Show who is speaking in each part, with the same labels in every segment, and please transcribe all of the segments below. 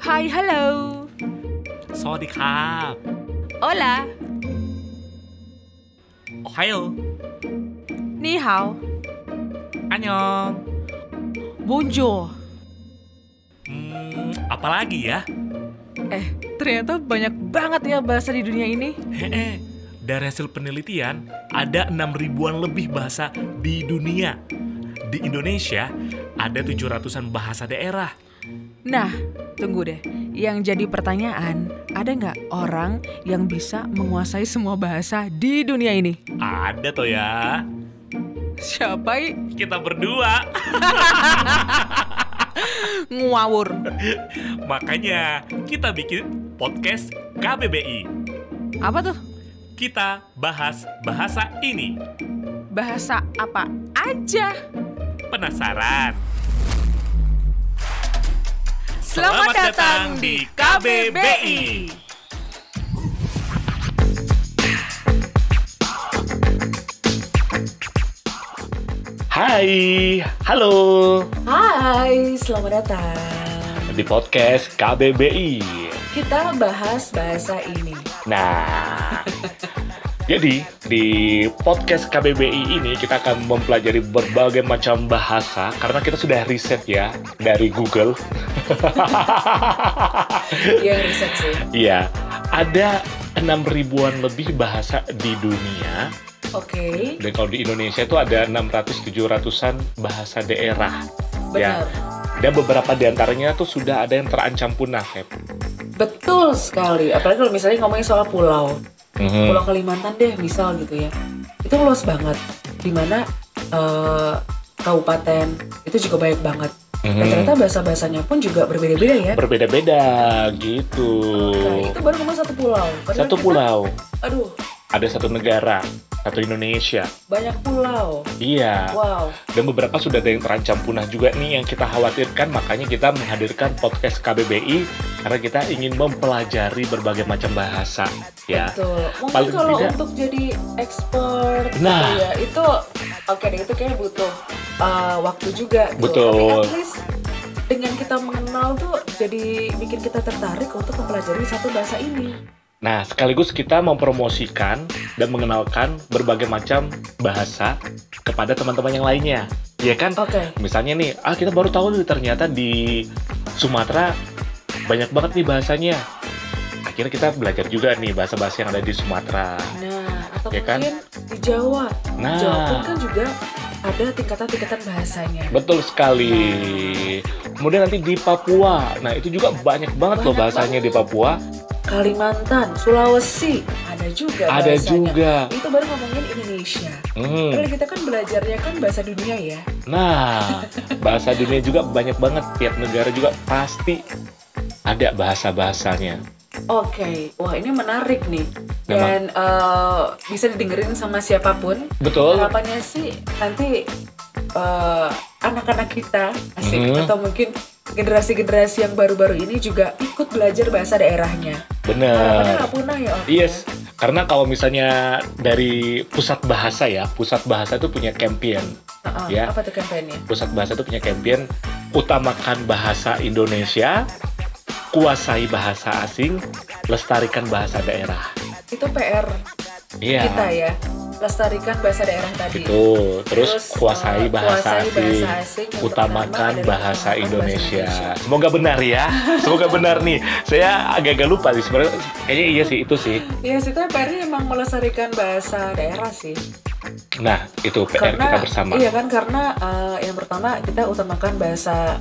Speaker 1: Hi, hello
Speaker 2: สวัสดีครับ
Speaker 1: Hola
Speaker 2: โอไฮโอ
Speaker 1: 你好
Speaker 2: อันยอง
Speaker 1: Bonjour
Speaker 2: Hmm, apalagi ya?
Speaker 1: Eh, ternyata banyak banget ya bahasa di dunia ini
Speaker 2: Hehe. Dari hasil penelitian, ada 6 ribuan lebih bahasa di dunia. Di Indonesia, ada 700-an bahasa daerah.
Speaker 1: Nah, tunggu deh Yang jadi pertanyaan Ada nggak orang yang bisa menguasai semua bahasa di dunia ini?
Speaker 2: Ada toh ya.
Speaker 1: Siapa i?
Speaker 2: Kita berdua.
Speaker 1: Ngawur
Speaker 2: Makanya kita bikin podcast KBBI.
Speaker 1: Apa tuh?
Speaker 2: Kita bahas bahasa ini.
Speaker 1: Bahasa apa aja?
Speaker 2: Penasaran?
Speaker 1: Selamat, datang di KBBI.
Speaker 2: Hai, halo
Speaker 1: Hai, selamat datang.
Speaker 2: di podcast KBBI.
Speaker 1: Kita bahas bahasa ini.
Speaker 2: Nah, jadi di podcast KBBI ini kita akan mempelajari berbagai macam bahasa karena kita sudah riset ya dari Google.
Speaker 1: Iya, riset sih.
Speaker 2: Iya, ada enam ribuan lebih bahasa di dunia
Speaker 1: Oke,
Speaker 2: dan kalau di Indonesia itu ada 600-700an bahasa daerah.
Speaker 1: benar.
Speaker 2: Dan beberapa di antaranya tuh sudah ada yang terancam punah, Feb.
Speaker 1: Betul sekali. Apalagi kalau misalnya ngomongin soal pulau.
Speaker 2: Mhm.
Speaker 1: Pulau Kalimantan deh, misal gitu ya. Itu luas banget. Dimana eh, kabupaten itu juga banyak banget. Dan
Speaker 2: Mhm.
Speaker 1: ternyata bahasa-bahasanya pun juga berbeda-beda ya.
Speaker 2: Berbeda-beda gitu.
Speaker 1: Nah, itu baru ngomong satu pulau. Padahal
Speaker 2: Satu
Speaker 1: kita-
Speaker 2: pulau,
Speaker 1: Aduh,
Speaker 2: ada satu negara, satu Indonesia.
Speaker 1: banyak pulau.
Speaker 2: Iya.
Speaker 1: Wow.
Speaker 2: Dan beberapa sudah ada yang terancam punah juga nih yang kita khawatirkan. Makanya kita menghadirkan podcast KBBI karena kita ingin mempelajari berbagai macam bahasa, ya.
Speaker 1: Betul. Mungkin
Speaker 2: Paling
Speaker 1: kalau
Speaker 2: tidak-
Speaker 1: untuk jadi ekspor gitu
Speaker 2: Nah.
Speaker 1: ya, itu oke deh itu kayaknya butuh uh, waktu juga gitu.
Speaker 2: Betul.
Speaker 1: Tapi at least dengan kita mengenal tuh jadi bikin kita tertarik untuk mempelajari satu bahasa ini.
Speaker 2: Nah, sekaligus kita mempromosikan dan mengenalkan berbagai macam bahasa kepada teman-teman yang lainnya. Ya kan?
Speaker 1: Oke.
Speaker 2: Misalnya nih, ah kita baru tahu nih ternyata di Sumatera banyak banget nih bahasanya. Akhirnya kita belajar juga nih bahasa-bahasa yang ada di Sumatera.
Speaker 1: Nah, atau
Speaker 2: Ya kan?
Speaker 1: mungkin di Jawa. Jawa pun
Speaker 2: Nah,
Speaker 1: kan juga ada tingkatan-tingkatan bahasanya.
Speaker 2: betul sekali. Kemudian nanti di Papua. Nah, itu juga banyak banget loh
Speaker 1: Banyak
Speaker 2: bahasanya di
Speaker 1: banget.
Speaker 2: Papua.
Speaker 1: Kalimantan, Sulawesi, ada juga
Speaker 2: Ada
Speaker 1: bahasanya.
Speaker 2: juga.
Speaker 1: Itu baru ngomongin Indonesia.
Speaker 2: Hmm.
Speaker 1: Padahal kita kan belajarnya kan bahasa dunia ya.
Speaker 2: Nah, bahasa dunia juga banyak banget. Tiap negara juga pasti ada bahasa-bahasanya.
Speaker 1: Oke, wah ini menarik nih dan
Speaker 2: Memang.
Speaker 1: eh, bisa didengerin sama siapapun.
Speaker 2: Betul?
Speaker 1: Harapannya sih nanti eh, anak-anak kita asik
Speaker 2: Mhm.
Speaker 1: atau mungkin generasi-generasi yang baru-baru ini juga ikut belajar bahasa daerahnya. Harapannya
Speaker 2: Bener.
Speaker 1: nggak punah ya. Om,
Speaker 2: Eh. Yes. Karena kalau misalnya dari pusat bahasa ya, pusat bahasa itu punya
Speaker 1: ya?
Speaker 2: campaign.
Speaker 1: Heeh,
Speaker 2: Ya.
Speaker 1: Apa tuh kampanye?
Speaker 2: Pusat bahasa itu punya campaign utamakan bahasa Indonesia, kuasai bahasa asing, lestarikan bahasa daerah.
Speaker 1: Itu PR
Speaker 2: Iya.
Speaker 1: kita ya. Lestarikan bahasa daerah tadi.
Speaker 2: Gitu. Terus
Speaker 1: eh,
Speaker 2: kuasai
Speaker 1: kuasai
Speaker 2: bahasa asing.
Speaker 1: asing yang pertama
Speaker 2: utamakan
Speaker 1: adalah
Speaker 2: bahasa
Speaker 1: utamakan
Speaker 2: Indonesia. Semoga benar ya. Semoga benar nih. Saya agak-agak lupa sih sebenarnya. Kayaknya iya sih itu sih.
Speaker 1: Iya, yes, itu PR-nya emang melestarikan bahasa daerah sih.
Speaker 2: Nah, itu PR kita bersama.
Speaker 1: Iya kan karena eh, yang pertama kita utamakan bahasa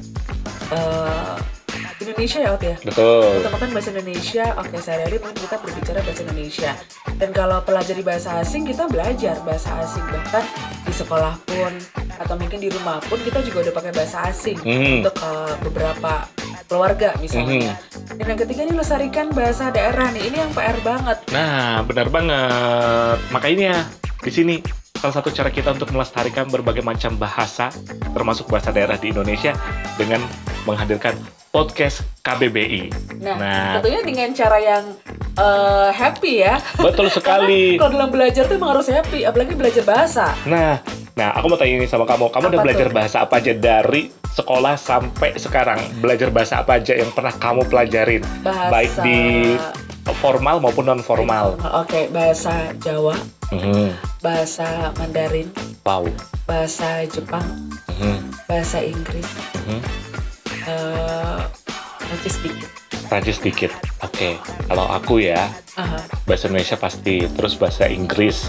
Speaker 1: eh, Indonesia ya Ot ya.
Speaker 2: Betul.
Speaker 1: Utamakan bahasa Indonesia. Oke sehari-hari mungkin kita berbicara bahasa Indonesia. Dan kalau pelajari bahasa asing kita belajar bahasa asing bahkan di sekolah pun atau mungkin di rumah pun kita juga udah pakai bahasa asing
Speaker 2: Hmm.
Speaker 1: untuk eh, beberapa keluarga misalnya.
Speaker 2: Hmm.
Speaker 1: Dan yang ketiga nih lestarikan bahasa daerah nih. Ini yang PR banget.
Speaker 2: Nah, benar banget. Makanya ya, di sini salah satu cara kita untuk melestarikan berbagai macam bahasa termasuk bahasa daerah di Indonesia dengan menghadirkan podcast KBBI.
Speaker 1: Nah,
Speaker 2: Nah.
Speaker 1: tentunya dengan cara yang eh, happy ya.
Speaker 2: Betul sekali.
Speaker 1: Kalau dalam belajar tuh emang harus happy, apalagi belajar bahasa.
Speaker 2: Nah, Nah, aku mau tanya ini sama kamu. Kamu
Speaker 1: Apa
Speaker 2: udah belajar
Speaker 1: tuh?
Speaker 2: bahasa apa aja dari sekolah sampai sekarang? Belajar bahasa apa aja yang pernah kamu pelajarin?
Speaker 1: bahasa Oh,
Speaker 2: Baik di formal maupun non formal.
Speaker 1: Oke, bahasa Jawa,
Speaker 2: Hmm,
Speaker 1: bahasa Mandarin,
Speaker 2: wow.
Speaker 1: bahasa Jepang,
Speaker 2: Hmm,
Speaker 1: bahasa Inggris,
Speaker 2: hmm.
Speaker 1: eh Prancis dikit.
Speaker 2: Prancis dikit. Oke. Kalau aku ya
Speaker 1: Aha.
Speaker 2: bahasa Indonesia pasti, terus bahasa Inggris,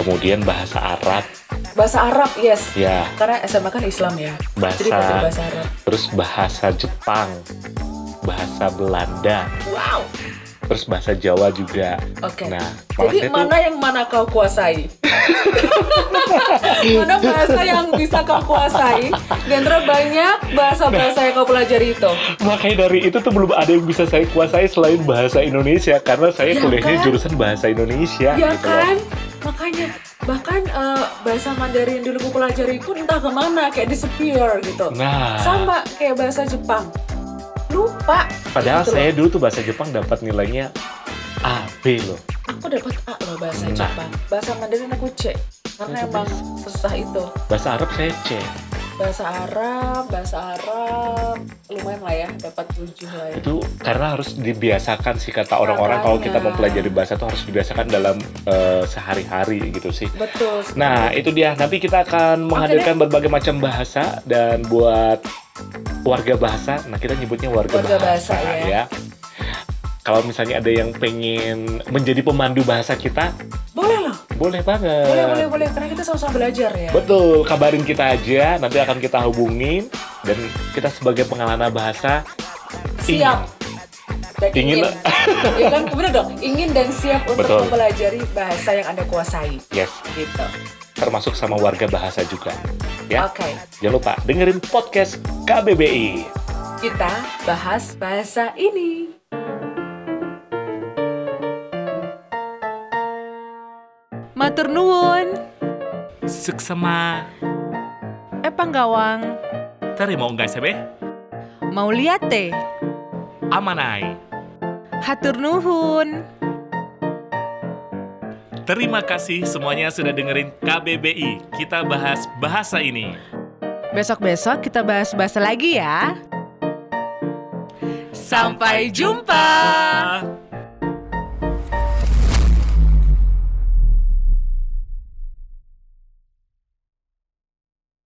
Speaker 2: kemudian bahasa Arab,
Speaker 1: Bahasa Arab, yes.
Speaker 2: ya
Speaker 1: Karena SMA kan Islam ya. Jadi belajar
Speaker 2: bahasa,
Speaker 1: bahasa Arab.
Speaker 2: terus bahasa Jepang, bahasa Belanda,
Speaker 1: Wow.
Speaker 2: terus bahasa Jawa juga.
Speaker 1: Oke.
Speaker 2: Nah,
Speaker 1: Jadi
Speaker 2: makanya tuh-
Speaker 1: mana yang mana kau kuasai? mana bahasa yang bisa kau kuasai? Di antara banyak bahasa-bahasa yang kau pelajari itu.
Speaker 2: Makanya dari itu tuh belum ada yang bisa saya kuasai selain bahasa Indonesia karena saya
Speaker 1: Ya kan?
Speaker 2: kuliahnya jurusan bahasa Indonesia
Speaker 1: Ya
Speaker 2: gitu loh.
Speaker 1: kan? Makanya bahkan eh, bahasa Mandarin yang dulu ku pelajari pun entah kemana kayak disappear gitu.
Speaker 2: Nah,
Speaker 1: Sama kayak bahasa Jepang. Lupa.
Speaker 2: padahal
Speaker 1: Gitu loh.
Speaker 2: saya dulu tuh bahasa Jepang dapat nilainya A B loh.
Speaker 1: aku dapat A loh bahasa
Speaker 2: Nah.
Speaker 1: Jepang. Bahasa Mandarin aku C. Karena
Speaker 2: Itu
Speaker 1: emang susah itu.
Speaker 2: Bahasa Arab saya C.
Speaker 1: Bahasa Arab, bahasa Arab lumayan lah ya, dapat 7 lah ya.
Speaker 2: Itu karena harus dibiasakan sih kata orang-orang kalau kita
Speaker 1: Makanya.
Speaker 2: mempelajari bahasa tuh harus dibiasakan dalam eh, sehari-hari gitu sih.
Speaker 1: Betul.
Speaker 2: Nah, itu dia. Nanti kita akan menghadirkan berbagai macam bahasa dan buat warga bahasa. Nah, kita nyebutnya warga,
Speaker 1: Warga bahasa,
Speaker 2: ya. Kalau misalnya ada yang pengen menjadi pemandu bahasa kita,
Speaker 1: boleh loh.
Speaker 2: boleh banget.
Speaker 1: Boleh, boleh, boleh. Karena kita sama-sama belajar ya.
Speaker 2: eh, Betul, kabarin kita aja, nanti akan kita hubungin dan kita sebagai pengalana bahasa
Speaker 1: Siap. Dan ingin.
Speaker 2: Ingin.
Speaker 1: ya kan, bener dong. Ingin dan siap untuk
Speaker 2: Betul.
Speaker 1: mempelajari bahasa yang Anda kuasai.
Speaker 2: yes,
Speaker 1: Gitu.
Speaker 2: termasuk sama warga bahasa juga. Ya.
Speaker 1: Oke.
Speaker 2: Jangan lupa dengerin podcast KBBI.
Speaker 1: Kita bahas bahasa ini.
Speaker 3: Matur nuwun,
Speaker 4: Suksema
Speaker 3: eh panggawang,
Speaker 4: terima unggah sebe
Speaker 3: mau lihat teh,
Speaker 4: amanai.
Speaker 3: hatur nuhun.
Speaker 4: Terima kasih semuanya sudah dengerin KBBI. Kita bahas bahasa ini.
Speaker 3: Besok-besok kita bahas bahasa lagi ya. Sampai jumpa.
Speaker 4: jumpa.